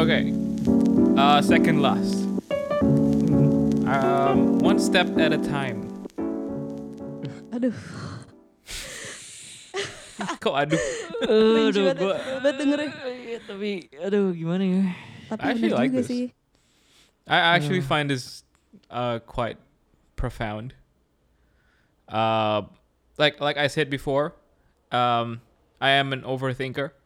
Okay. Uh, second last. Um, one step at a time. Aduh. Kok aduh? Benci aduh banget, gue banget dengernya. iya, tapi aduh gimana ya Tapi I actually bener like juga this. sih. I actually find this uh, quite profound. Uh, like like I said before, um, I am an overthinker.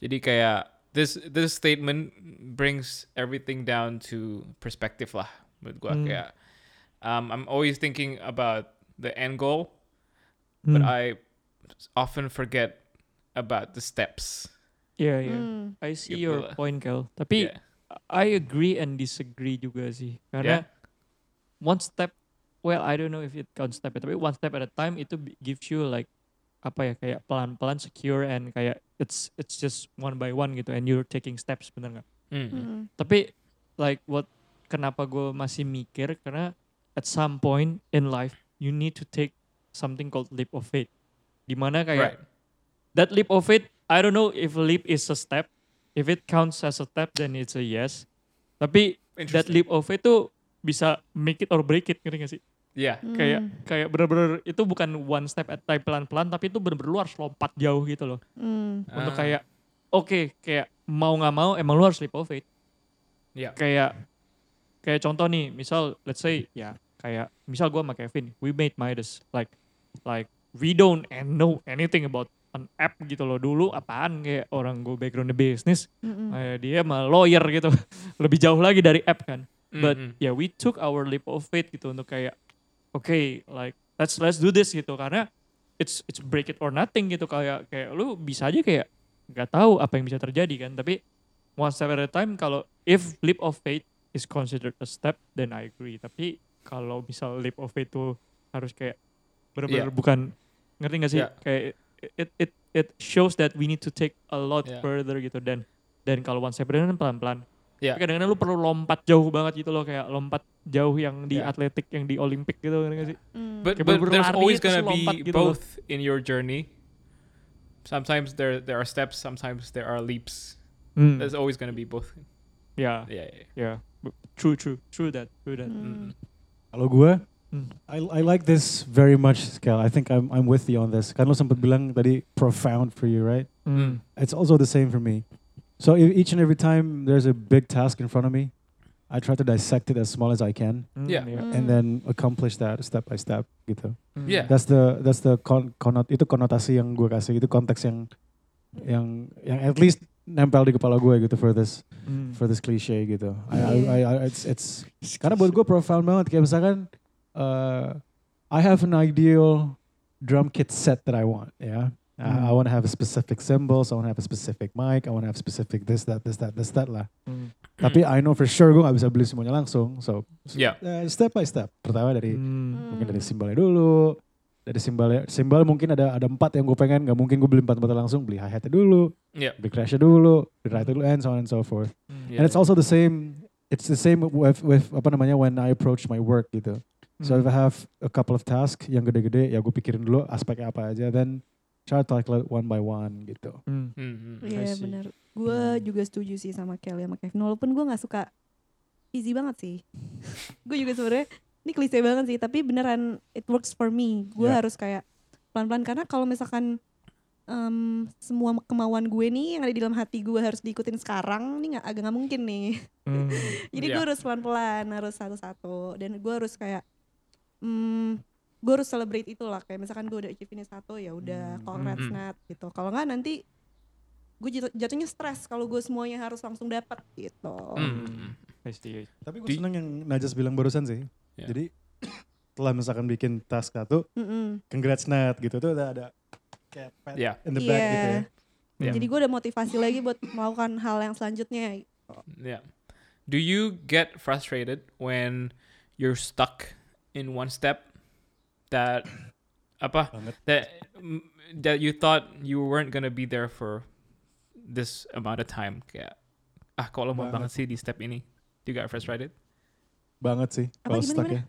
Jadi kayak this this statement brings everything down to perspective lah menurut gua Hmm. kayak um, I'm always thinking about the end goal, but Hmm. I often forget about the steps. yeah, yeah. Hmm. I see Gitu your lah. point Kel tapi Yeah. I agree and disagree juga sih karena one step well I don't know if it counts step ya, tapi one step at a time itu bi- gives you like apa ya kayak pelan-pelan secure and kayak it's it's just one by one gitu and you're taking steps bener nggak Mm. Hmm. tapi like what kenapa gue masih mikir karena at some point in life you need to take something called leap of faith dimana kayak Right. that leap of faith I don't know if leap is a step if it counts as a step then it's a yes tapi that Interesting. leap of faith tuh bisa make it or break it ngerti gak sih Yeah. hmm. kayak kayak bener-bener itu bukan one step at time pelan-pelan tapi itu bener-bener lu harus lompat jauh gitu loh Hmm. untuk Ah, kayak oke kayak mau nggak mau emang lu harus leap of faith yeah. kayak kayak contoh nih misal let's say ya kayak misal gua sama Kevin we made Midas like like we don't and know anything about an app gitu low dulu apaan kayak orang gue backgroundnya bisnis Mm-mm. eh, dia mah lawyer gitu lebih jauh lagi dari app kan but Mm-mm. yeah we took our leap of faith gitu untuk kayak oke like let's let's do this gitu karena it's it's break it or nothing gitu kayak kayak lu bisa aja kayak nggak tahu apa yang bisa terjadi kan tapi one step at a time kalau if leap of faith is considered a step then I agree tapi kalau misal leap of faith tuh harus kayak Yeah. benar-benar bukan ngerti nggak sih Yeah. kayak it it it shows that we need to take a lot Yeah. further gitu dan dan kalau one step at a time pelan-pelan Yeah. tapi kadang-kadang lu perlu lompat jauh banget gitu loh kayak lompat jauh yang di Yeah. atletik yang di olimpik gitu ngerti nggak sih Hmm. But, Kayak but bener-bener there's lari always terus gonna lompat be gitu loh. both in your journey. Sometimes there there are steps, sometimes there are leaps. hmm. There's always gonna be both. ya Yeah, yeah. ya B- true true true that true Hmm. that Mm. Kalau gue, Hmm. I, I like this very much, Scal. I think I'm, I'm with you on this. Kan lo sempat bilang tadi profound for you, right? Hmm. It's also the same for me. So e- each and every time there's a big task in front of me, I try to dissect it as small as I can Hmm, Yeah. ya. Hmm. and then accomplish that step by step gitu. Hmm. Yeah. That's the that's the kon, konot itu konotasi yang gue kasih itu konteks yang yang yang at least nempel di kepala gue gitu for this Hmm. for this cliche gitu. I, Yeah. I, I, I- it's it's Karena buat gue profound banget kayak misalkan uh, I have an ideal drum kit set that I want, yeah. I- I, Hmm. want to have a specific cymbals, I want to have a specific mic, I want to have specific this that this that this that lah. Hmm. Tapi I know for sure gue gak bisa beli semuanya langsung, so, so, Mm. Yeah. uh, step by step. Pertama dari Hmm. mungkin dari simbalnya dulu, dari simbalnya simbal mungkin ada ada empat yang gue pengen, nggak mungkin gue beli empat empat langsung, beli hi hatnya dulu, Yeah. beli crashnya dulu, beli right dulu, and so on and so forth. Hmm. Yeah. And it's also the same. It's the same with with apa namanya when I approach my work gitu. Hmm. Hmm. So if I have a couple of tasks yang gede-gede, ya gue pikirin dulu aspeknya apa aja, then try to tackle it one by one gitu. Hmm. Mm-hmm. Iya see. benar. Gue juga setuju sih sama Kelly sama Kevin. Walaupun gue nggak suka easy banget sih. gue juga sebenarnya ini klise banget sih. Tapi beneran it works for me. Gue Yeah. harus kayak pelan-pelan karena kalau misalkan em, semua kemauan gue nih yang ada di dalam hati gue harus diikutin sekarang ini nggak agak nggak mungkin nih. Hmm. Jadi Iya. gue harus pelan-pelan, harus satu-satu, dan gue harus kayak, hmm, gue harus celebrate itu lah. Kayak misalkan gue udah achieve ini satu, ya udah, Hmm. congrats Mm-mm. Nat gitu. Kalau nggak nanti gue jat- jatuhnya stres kalau gue semuanya harus langsung dapat gitu. Mm. I see. Tapi gue Di- seneng yang Najas bilang barusan sih. Ya. Jadi setelah misalkan bikin task satu, Mm-mm. congrats Nat gitu. Itu ada ada kayak pat Yeah. in the back Iya. gitu ya. Yeah. Jadi gue udah motivasi lagi buat melakukan hal yang selanjutnya. Yeah. Do you get frustrated when you're stuck in one step that apa Banget. that mm, that you thought you weren't gonna be there for this amount of time? Kayak ah kok lama Banget. banget sih di step ini. Do you get frustrated? Banget sih Apa, kalau gimana, stuck ya.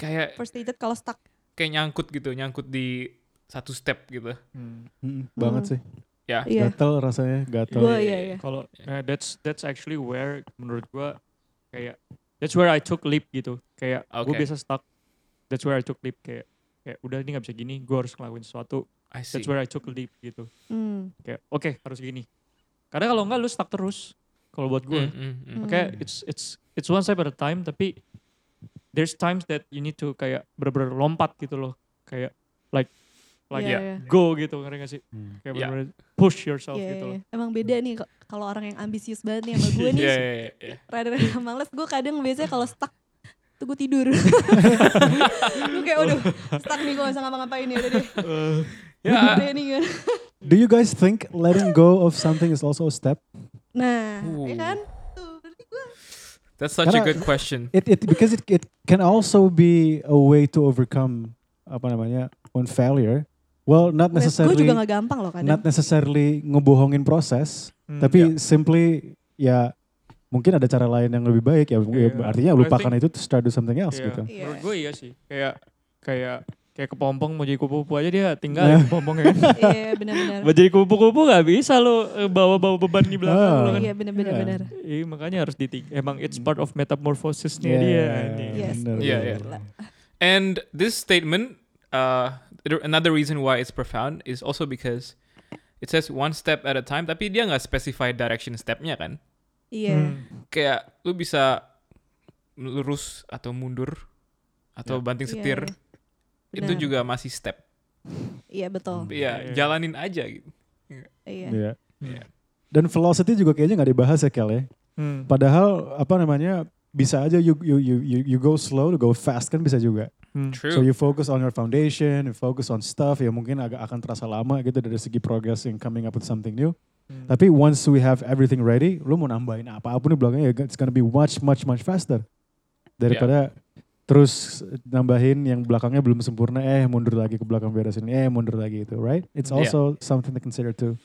Kayak First aided kalau stuck. kayak nyangkut gitu, nyangkut di satu step gitu. Hmm. Mm-mm, Banget Hmm. sih. Yeah. Iya. Gatel rasanya, gatel. Gue Oh, iya iya. Kalau nah, that's that's actually where menurut gua kayak that's where I took leap gitu. Kayak gua Okay. biasa stuck. That's where I took leap kayak kayak udah ini nggak bisa gini, gua harus ngelakuin sesuatu. I see. That's where I took leap gitu. Hmm. Kayak oke harus gini. Karena kalau nggak lu stuck terus. Kalau buat gua, Hmm. Mm, mm, mm. Mm. kayak it's it's it's one step at a time tapi there's times that you need to kayak bener-bener lompat gitu loh. Kayak like like Iya, iya. go gitu ngerti gak sih? Hmm. Kayak Iya. bener-bener push yourself Iya, gitu iya. loh. Emang beda nih kok- kalau orang yang ambisius banget nih sama gue nih. Yeah, yeah, yeah, yeah. Rada-rada males. Gue kadang biasanya kalau stuck tuh gue tidur. Gue kayak udah stuck nih gue gak usah ngapa-ngapain ya udah deh. Eh, Yeah, Udah I- deh nih gua. kan. Do you guys think letting go of something is also a step? Nah, ya Ooh. kan? Tuh, berarti gue That's such a Karena- good question. It it because it it can also be a way to overcome apa namanya on failure. Well, not gue necessarily juga gak gampang loh kadang. not necessarily ngebohongin proses, Hmm, tapi simply ya mungkin ada cara lain yang lebih baik ya, ya Iya. artinya I lupakan think- itu to start do something else Iya. gitu. Iya. Menurut gue iya sih. Kayak kayak kayak kepompong mau jadi kupu-kupu aja dia tinggal kepompong ya kan. Iya benar-benar. Mau jadi kupu-kupu gak bisa lo eh, bawa-bawa beban di belakang Ah. lo kan. Iya benar-benar Iya. benar. Iya makanya harus diting. Emang it's part of metamorphosisnya Yeah, Iya, dia. anjing. Iya, Yes. Ya, Iya. bener, Yeah, bener. yeah. And this statement, uh, there- another reason why it's profound is also because it says one step at a time. Tapi dia nggak specify direction stepnya kan? Iya. Hmm. Kayak lu bisa lurus atau mundur atau banting Iya, setir iya. itu Benar. juga masih step. Iya betul. Iya, Iya. jalanin aja gitu. Iya. Iya. Iya. Dan velocity juga kayaknya nggak dibahas ya Kel ya. Hmm. Padahal apa namanya bisa aja you you you you, you go slow to go fast kan bisa juga. Hmm. So you focus on your foundation, you focus on stuff ya mungkin agak akan terasa lama gitu dari segi progress in coming up with something new. Hmm. Tapi once we have everything ready, lu mau nambahin apapun di belakangnya ya, it's gonna be much much much faster daripada terus nambahin yang belakangnya belum sempurna eh mundur lagi ke belakang beresin eh mundur lagi itu right? It's Yeah. also something to consider too.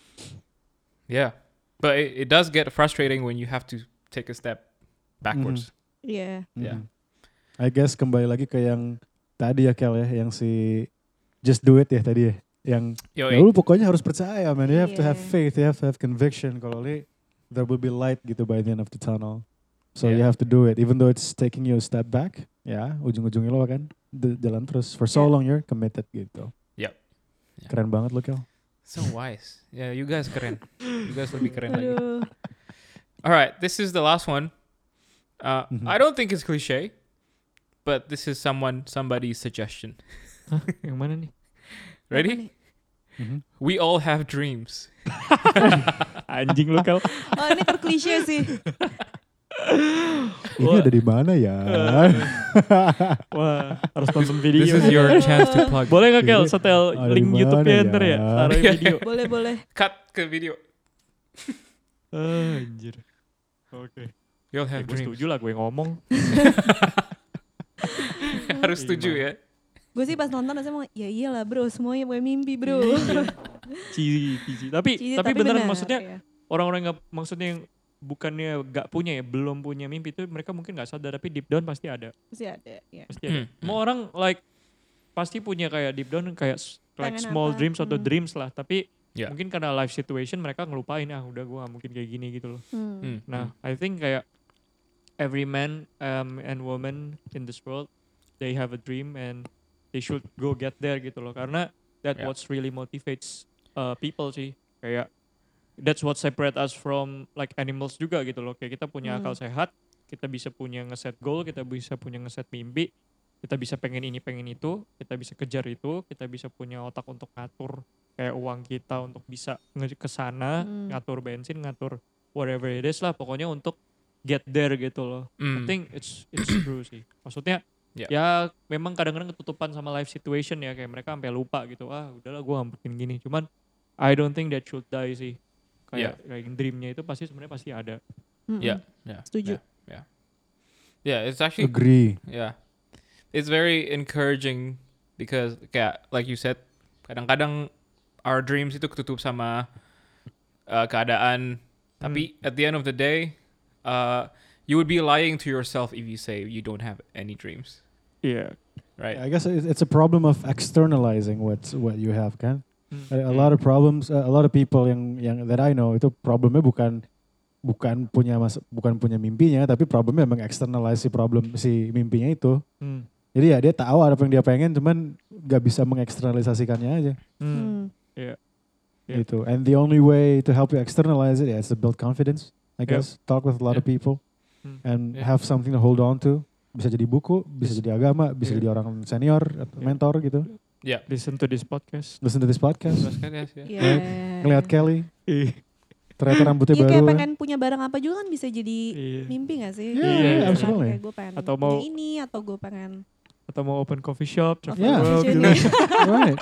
Yeah, but it, it does get frustrating when you have to take a step backwards. Iya. Yeah. Mhm. I guess kembali lagi ke yang tadi ya Kel ya, yang si just do it ya tadi ya. Yang Yo, Mm-hmm. eh, ya lu pokoknya harus percaya man, you have to have Iya. faith, you have to have conviction kalau li there will be light gitu by the end of the tunnel. So you Yeah. have to do it even though it's taking you a step back. Ya, ujung-ujungnya lo kan d- jalan terus for so Yeah. long you're committed gitu. Yep. Yeah. Keren banget lo Kel. so wise. Yeah, you guys keren. You guys lebih keren lagi. Aduh. All right, this is the last one. Uh, Mm-hmm. Mhm. I don't think it's cliche, but this is someone somebody's suggestion. Yang mana nih? Ready? Apa nih? Mhm. We all have dreams. Anjing lo kau. Oh ini terklise sih. Ini Wah. ada di mana ya? Wah, harus nonton video. This is nih. your chance to plug. Boleh gak Kel Iya. setel Ada link di mana YouTube-nya ya? ntar ya? Taruh Iya, video. Boleh boleh. Cut the video. Ah, Anjir. Oke. We all Ya, have gue dreams. setuju lah gue ngomong. Harus setuju ya. Gue sih pas nonton rasanya mau ya iyalah bro semuanya bukan mimpi bro. Cici, cici. Tapi, Cici, tapi, beneran benar, maksudnya iya. orang-orang yang gak- maksudnya yang bukannya gak punya ya, belum punya mimpi itu mereka mungkin gak sadar tapi deep down pasti ada. Pasti ada. Iya. Pasti ada. Hmm. Mau orang like pasti punya kayak deep down kayak s- like Pengen small apa? dreams atau Hmm. dreams lah, tapi Ya. mungkin karena life situation mereka ngelupain ah udah gue gak mungkin kayak gini gitu loh. Hmm. Mm. Nah, I think kayak every man um, and woman in this world, they have a dream and they should go get there gitu loh. Karena that Yeah. what's really motivates uh, people sih. Kayak that's what separate us from like animals juga gitu loh. Kayak kita punya akal Hmm. sehat, kita bisa punya ngeset goal, kita bisa punya ngeset mimpi, kita bisa pengen ini pengen itu, kita bisa kejar itu, kita bisa punya otak untuk ngatur kayak uang kita untuk bisa nge- ke sana, Hmm. ngatur bensin, ngatur whatever it is lah pokoknya untuk get there gitu loh. Mm. I think it's it's true sih. Maksudnya Yeah. ya memang kadang-kadang ketutupan sama life situation ya kayak mereka sampai lupa gitu. Ah, udahlah gua ngumpetin gini. Cuman I don't think that should die sih. Kayak kayak dreamnya itu pasti sebenarnya pasti ada. Mm-mm. Yeah. Iya. Yeah. Setuju. Yeah. Yeah, it's actually Agree. Yeah. It's very encouraging because kayak like you said, kadang-kadang our dreams itu ketutup sama uh, keadaan. Tapi Hmm. at the end of the day, uh, you would be lying to yourself if you say you don't have any dreams, Iya. right? I guess it- it's a problem of externalizing what what you have kan. Hmm. a lot of problems uh, a lot of people yang yang that I know itu problemnya bukan bukan punya mas bukan punya mimpinya tapi problemnya emang externalize si problem si mimpinya itu Hmm. jadi ya dia tahu ada apa yang dia pengen cuman nggak bisa mengeksternalisasikannya aja Hmm. Hmm. Yeah. gitu and the only way to help you externalize it yeah, is to build confidence I Yeah. guess talk with a lot of people Hmm. and Yeah. have something to hold on to bisa jadi buku bisa jadi agama bisa Yeah. jadi orang senior atau Yeah. mentor gitu Listen to this podcast. listen to this podcast Terus kan, guys, ya. Yeah. Eh, ngeliat Kelly ternyata rambutnya Iya, Iya baru kayak ya. pengen punya barang apa juga kan bisa jadi Iya. mimpi gak sih? Iya, iya, Misalkan absolutely. Kayak gue pengen Atau atau mau- mau ini atau gue pengen Atau mau open coffee shop, travel Yeah. world gitu. Opportunity. right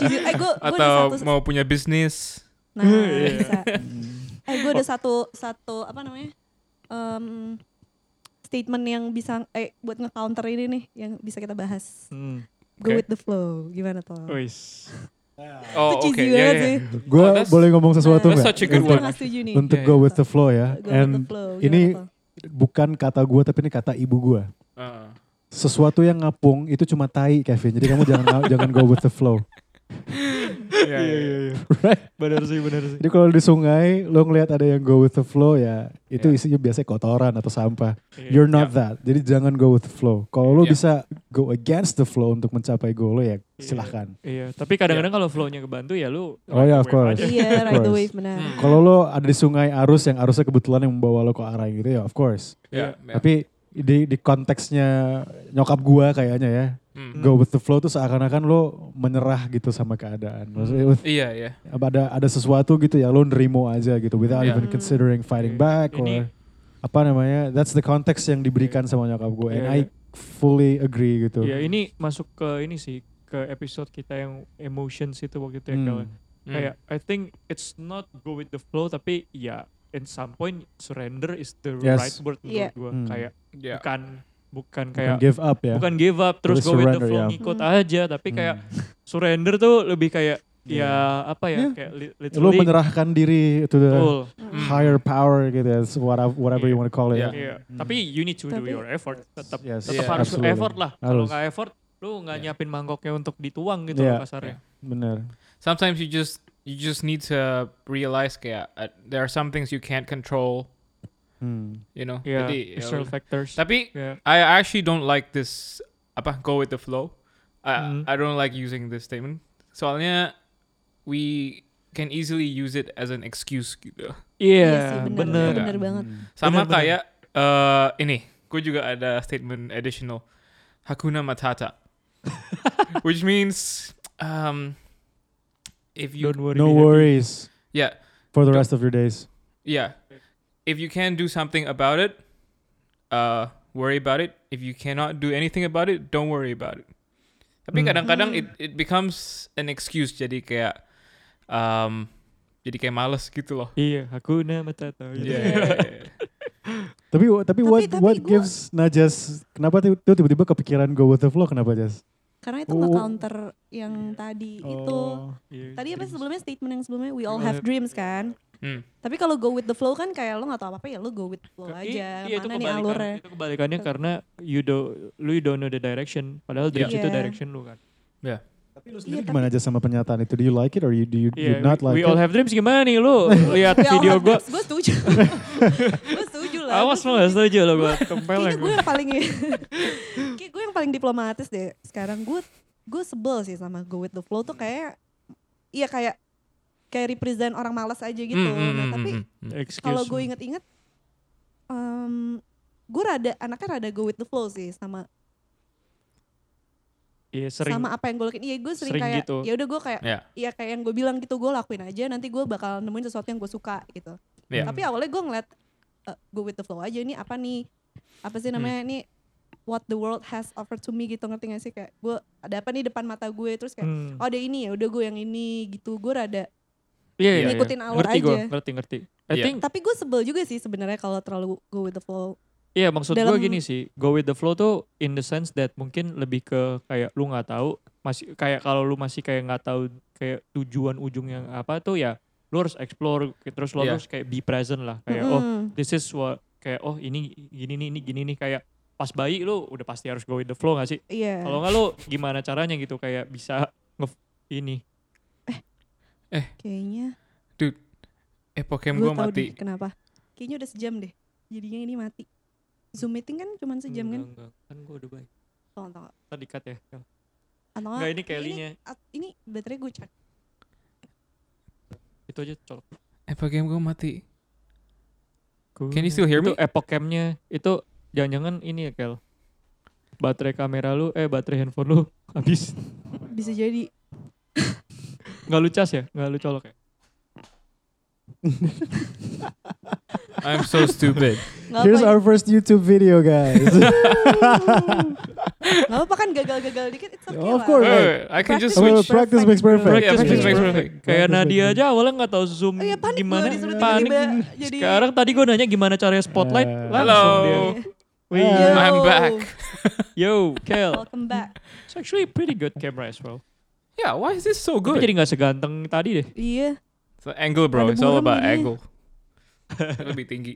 Jujur, eh gue gue ada Atau satu mau punya bisnis. nah Iya. bisa. Eh gue Oh. ada satu satu apa namanya em, statement yang bisa eh buat nge-counter ini nih yang bisa kita bahas. Hmm. Go Oke. with the flow gimana tuh? Wis. Oh, Itu oke. cheesy ya, ya. banget Ah. sih. gue Oh, that's- boleh ngomong sesuatu that's nggak such a good Gue untuk, one. gak setuju nih. untuk Yeah, go yeah. with the flow ya Go with the and flow. ini gimana tuh? bukan kata gue tapi ini kata ibu gue Heeh. sesuatu yang ngapung itu cuma tai Kevin jadi kamu jangan jangan go with the flow Iya, iya, iya. right Benar sih, benar sih. jadi kalau di sungai lo ngelihat ada yang go with the flow ya itu Yeah. isinya biasanya kotoran atau sampah Iya. you're not that jadi jangan go with the flow kalau lo Yeah. bisa go against the flow untuk mencapai goal lo ya silahkan Iya, tapi kadang-kadang kalau flow-nya kebantu ya lu Oh, iya, of wave course. aja. Iya, ride the course. wave benar. Hmm. kalau lo ada di sungai arus yang arusnya kebetulan yang membawa lo ke arah yang gitu ya of course Ya, Iya. ya. tapi di di konteksnya nyokap gua kayaknya ya Hmm. go with the flow tuh seakan-akan lo menyerah gitu sama keadaan Hmm. maksudnya Iya, iya. ada ada sesuatu gitu ya lo nerimo aja gitu without Iya. Yeah. even Hmm. considering fighting back Ini- or apa namanya that's the context yang diberikan sama nyokap gue and Yeah, yeah. I fully agree gitu Iya, ini masuk ke ini sih ke episode kita yang emotions itu waktu itu ya Hmm. Kel. Hmm. kayak I think it's not go with the flow tapi ya in some point surrender is the Yes. right word Iya. menurut gue Hmm. kayak Ya. bukan bukan Bukan kayak bukan give, give up ya up terus Tapi go with the surrender, flow ya. ngikut Hmm. aja tapi kayak surrender tuh lebih kayak ya apa ya Iya. kayak li- lo literally menyerahkan diri to the betul Hmm. higher power gitu ya so whatever, whatever you Yeah. want to call it Yeah. ya. Iya, tapi you need to do Tapi- your effort tetap Yes, tetap Yeah. harus absolutely. effort lah kalau Harus. nggak effort lu nggak Yeah. nyiapin mangkoknya untuk dituang gitu loh Yeah. kasarnya bener Sometimes you just you just need to realize kayak uh, there are some things you can't control, Hmm. you know. ya Jadi, ya external udah. factors tapi ya I actually don't like this apa go with the flow. I Mhm. I don't like using this statement. Soalnya we can easily use it as an excuse gitu. Iya sih, iya bener, bener bener banget. Hmm. Sama Benar-benar. kayak eh ini, gue juga ada statement additional Hakuna Matata. Which means um if you don't worry be no happy. worries yeah, for the Don't- rest of your days yeah. If you can do something about it, uh worry about it. If you cannot do anything about it, don't worry about it. Tapi Hmm. kadang-kadang Hmm. it it becomes an excuse jadi kayak um jadi kayak males gitu loh. Iya, aku nama Tata. Gitu. Iya. Yeah. Tapi tapi, Tapi- what tapi what gua- gives Najas kenapa ti- tuh tiba-tiba kepikiran go with the flow kenapa Jas? Karena itu nggak Oh. counter yang tadi itu. Iya, Gitu. Tadi apa Oh, dreams. sebelumnya statement yang sebelumnya we all We all have have- dreams kan. Hmm. Tapi kalau go with the flow kan kayak lo nggak tahu apa-apa ya lo go with flow Ke- i- aja. Iya, itu Mana nih kebalikan. alurnya? Itu kebalikannya karena you do, lu don't know the direction. Padahal dreams Iya. itu Iya. direction lu kan. Tapi lu sendiri Iya, gimana aja sama pernyataan itu? Do you like it or you do you, you Iya, not we- like we, it? all have dreams gimana nih lu? Lihat Ya video gue. gue setuju. gue setuju lah. Awas lu gak setuju lo gue tempel ya Kayaknya gue gue. yang paling kayak gue yang paling diplomatis deh sekarang gue gue sebel sih sama go with the flow tuh kayak iya kayak kayak represent orang malas aja gitu Hmm, hmm, nah hmm, tapi hmm, hmm. Excuse kalau gue me. inget-inget em, gue rada anaknya rada go with the flow sih sama Iya, sering. sama apa yang gue lakuin iya gue sering, Sering kayak gitu. ya udah gue kayak Ya. iya kayak yang gue bilang gitu gue lakuin aja nanti gue bakal nemuin sesuatu yang gue suka gitu Iya. Hmm. tapi awalnya gue ngeliat eh, go with the flow aja ini apa nih apa Hmm. sih namanya ini what the world has offered to me gitu ngerti gak sih kayak gue ada apa nih depan mata gue terus kayak Hmm. oh ada ini ya udah gue yang ini gitu gue rada Iya, iya, ngikutin iya. alur ngerti Gue, aja. ngerti, ngerti. I Iya. think, tapi gue sebel juga sih sebenarnya kalau terlalu go with the flow iya maksud gue dalam- gini sih. Go with the flow tuh in the sense that mungkin lebih ke kayak lu gak tahu masih kayak kalau lu masih kayak nggak tahu kayak tujuan ujung yang apa tuh ya lu harus explore terus lu Iya. harus kayak be present lah kayak oh Mm-mm. this is what kayak oh ini gini nih ini gini nih kayak pas bayi lu udah pasti harus go with the flow gak sih? iya Kalau nggak lu gimana caranya gitu kayak bisa nge ini Kayaknya Epoch game gue gue tahu Eh, mati. deh kenapa. Kayaknya udah sejam deh. Jadinya ini mati. Zoom meeting kan cuma sejam kan? Oh, Enggak, enggak. Kan gue udah baik. Tolong tolong. Tadi cut ya. Atau Enggak, ini Kelly-nya. at- Ini baterai gue charge. Itu aja colok. Epoch game gue Eh, mati. Can you still hear me? itu Epoch Cam-nya. Itu jangan-jangan ini ya, Kel. Baterai kamera lu, eh baterai handphone lu habis. Bisa jadi. Enggak lu cas ya? Enggak lu colok ya? I'm so stupid. Gak Here's apa, our first YouTube video, guys. gak apa kan gagal-gagal dikit. It's okay lah. Of course. Wait, I can just Practice switch. Well, practice makes perfect. Yeah, Practice makes makes perfect. perfect. Kayak Practice Nadia makes aja awalnya nggak tahu Zoom Oh iya, panik gimana. gua disuruh panik. tiba-tiba jadi- Sekarang tadi gue nanya gimana caranya spotlight. Eh. langsung dia. Hello. Wih, Yo. I'm back. Yo, Kel. Welcome back. It's actually pretty good camera as well. Yeah, why is this so Tapi good? jadi nggak seganteng tadi deh. Iya. It's the angle, bro. Ada It's all burung about ini. angle. Lebih tinggi.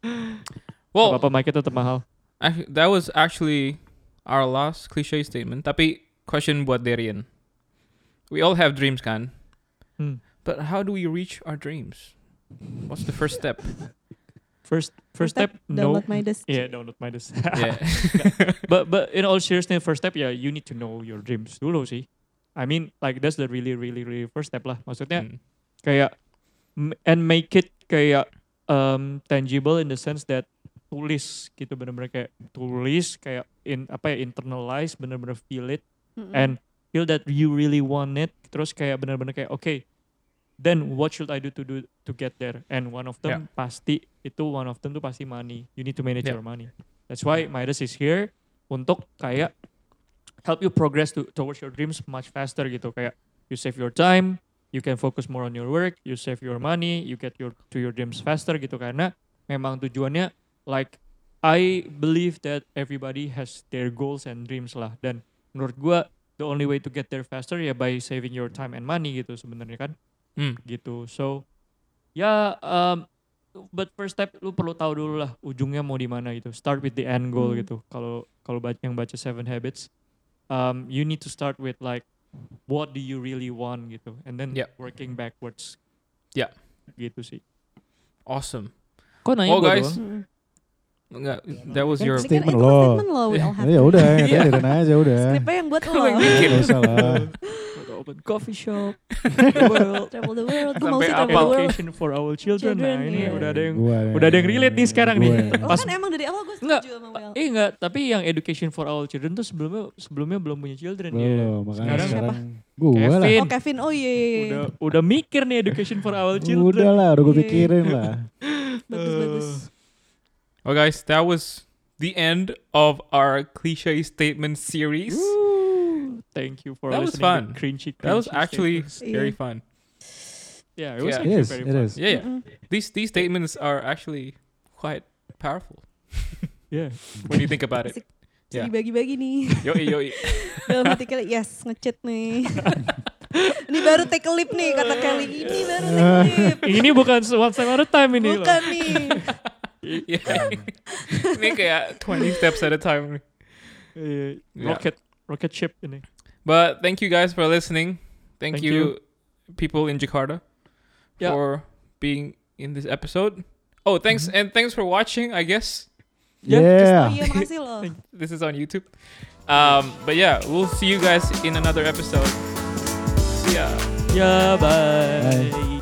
Oh. Well, Apa mic tetap mahal. ac- that was actually our last cliche statement. Tapi question buat Darian. We all have dreams, kan? Hmm. But how do we reach our dreams? What's the first step? First first step, no. Download my desk. Yeah, download Midas. yeah. but but in all seriousness, first step ya you need to know your dreams dulu sih. I mean like that's the really really really first step lah. Maksudnya Hmm. kayak m- and make it kayak um, tangible in the sense that tulis gitu bener-bener kayak tulis kayak in apa ya internalize bener-bener feel it Mm-mm. and feel that you really want it terus kayak bener-bener kayak oke then what should I do to do to get there and one of them pasti itu one of them tuh pasti money you need to manage Yeah. your money that's why Midas is here untuk kayak help you progress to, towards your dreams much faster gitu kayak you save your time you can focus more on your work you save your money you get your to your dreams faster gitu karena memang tujuannya like I believe that everybody has their goals and dreams lah dan menurut gua the only way to get there faster ya by saving your time and money gitu sebenarnya kan Hmm. gitu so ya um, but first step lu perlu tahu dulu lah ujungnya mau di mana gitu start with the end goal Hmm. gitu kalau kalau baca yang baca seven habits um, you need to start with like what do you really want gitu and then Yeah. working backwards Yeah. gitu sih Awesome. kok nanya Well, gua guys, doang? Mm-mm. Enggak, That was your. Ini kan- Statement itu kan lo. Statement lo. We all have ya udah, Iya. ngatain aja udah. Skripnya yang buat lo. Gak usah lah. Gua udah open coffee shop the world, travel the world. Gue mau Sampai sih apal. travel the world. education for our children, nah Children, ini yeah. udah ada yang Gua udah ada yang relate nih sekarang nih. Gua. Oh Pas- kan emang dari awal gue Enggak. setuju sama Will. eh enggak tapi yang education for all children tuh sebelumnya sebelumnya belum punya children Belum, ya makanya sekarang Sekarang sekarang gua lah. Kevin Oh Kevin, oh iya iya iya. udah udah mikir nih education for all Udah children lah, udah gue Iya. pikirin lah. Bagus bagus. Well, guys, that was the end of our cliche statement series. Uh. Woo. thank you for That was fun. listening to cringy, That was cringy actually statements. very Yeah. fun. yeah it was Yeah. It actually is, very it fun. is. Yeah, yeah. Mm-mm. These these statements are actually quite powerful yeah when you think about it. Asik. Yeah. Bisa Ya. dibagi-bagi nih. Yo yo. Dalam hati Kelly, yes, ngechat nih. ini baru take a leap nih kata Kelly. Ini baru take a leap. ini bukan one step at a time ini loh Bukan nih. Yeah. Ini kayak 20 steps at a time. Iya, Yeah. rocket rocket ship ini But thank you guys for listening. Thank, Thank you, people in Jakarta Yeah. for being in this episode. Oh, thanks and thanks for watching, I guess. Yeah. Oh Yeah. iya makasih loh. This is on YouTube. Um, but yeah, we'll see you guys in another episode. Yeah. ya bye. Bye.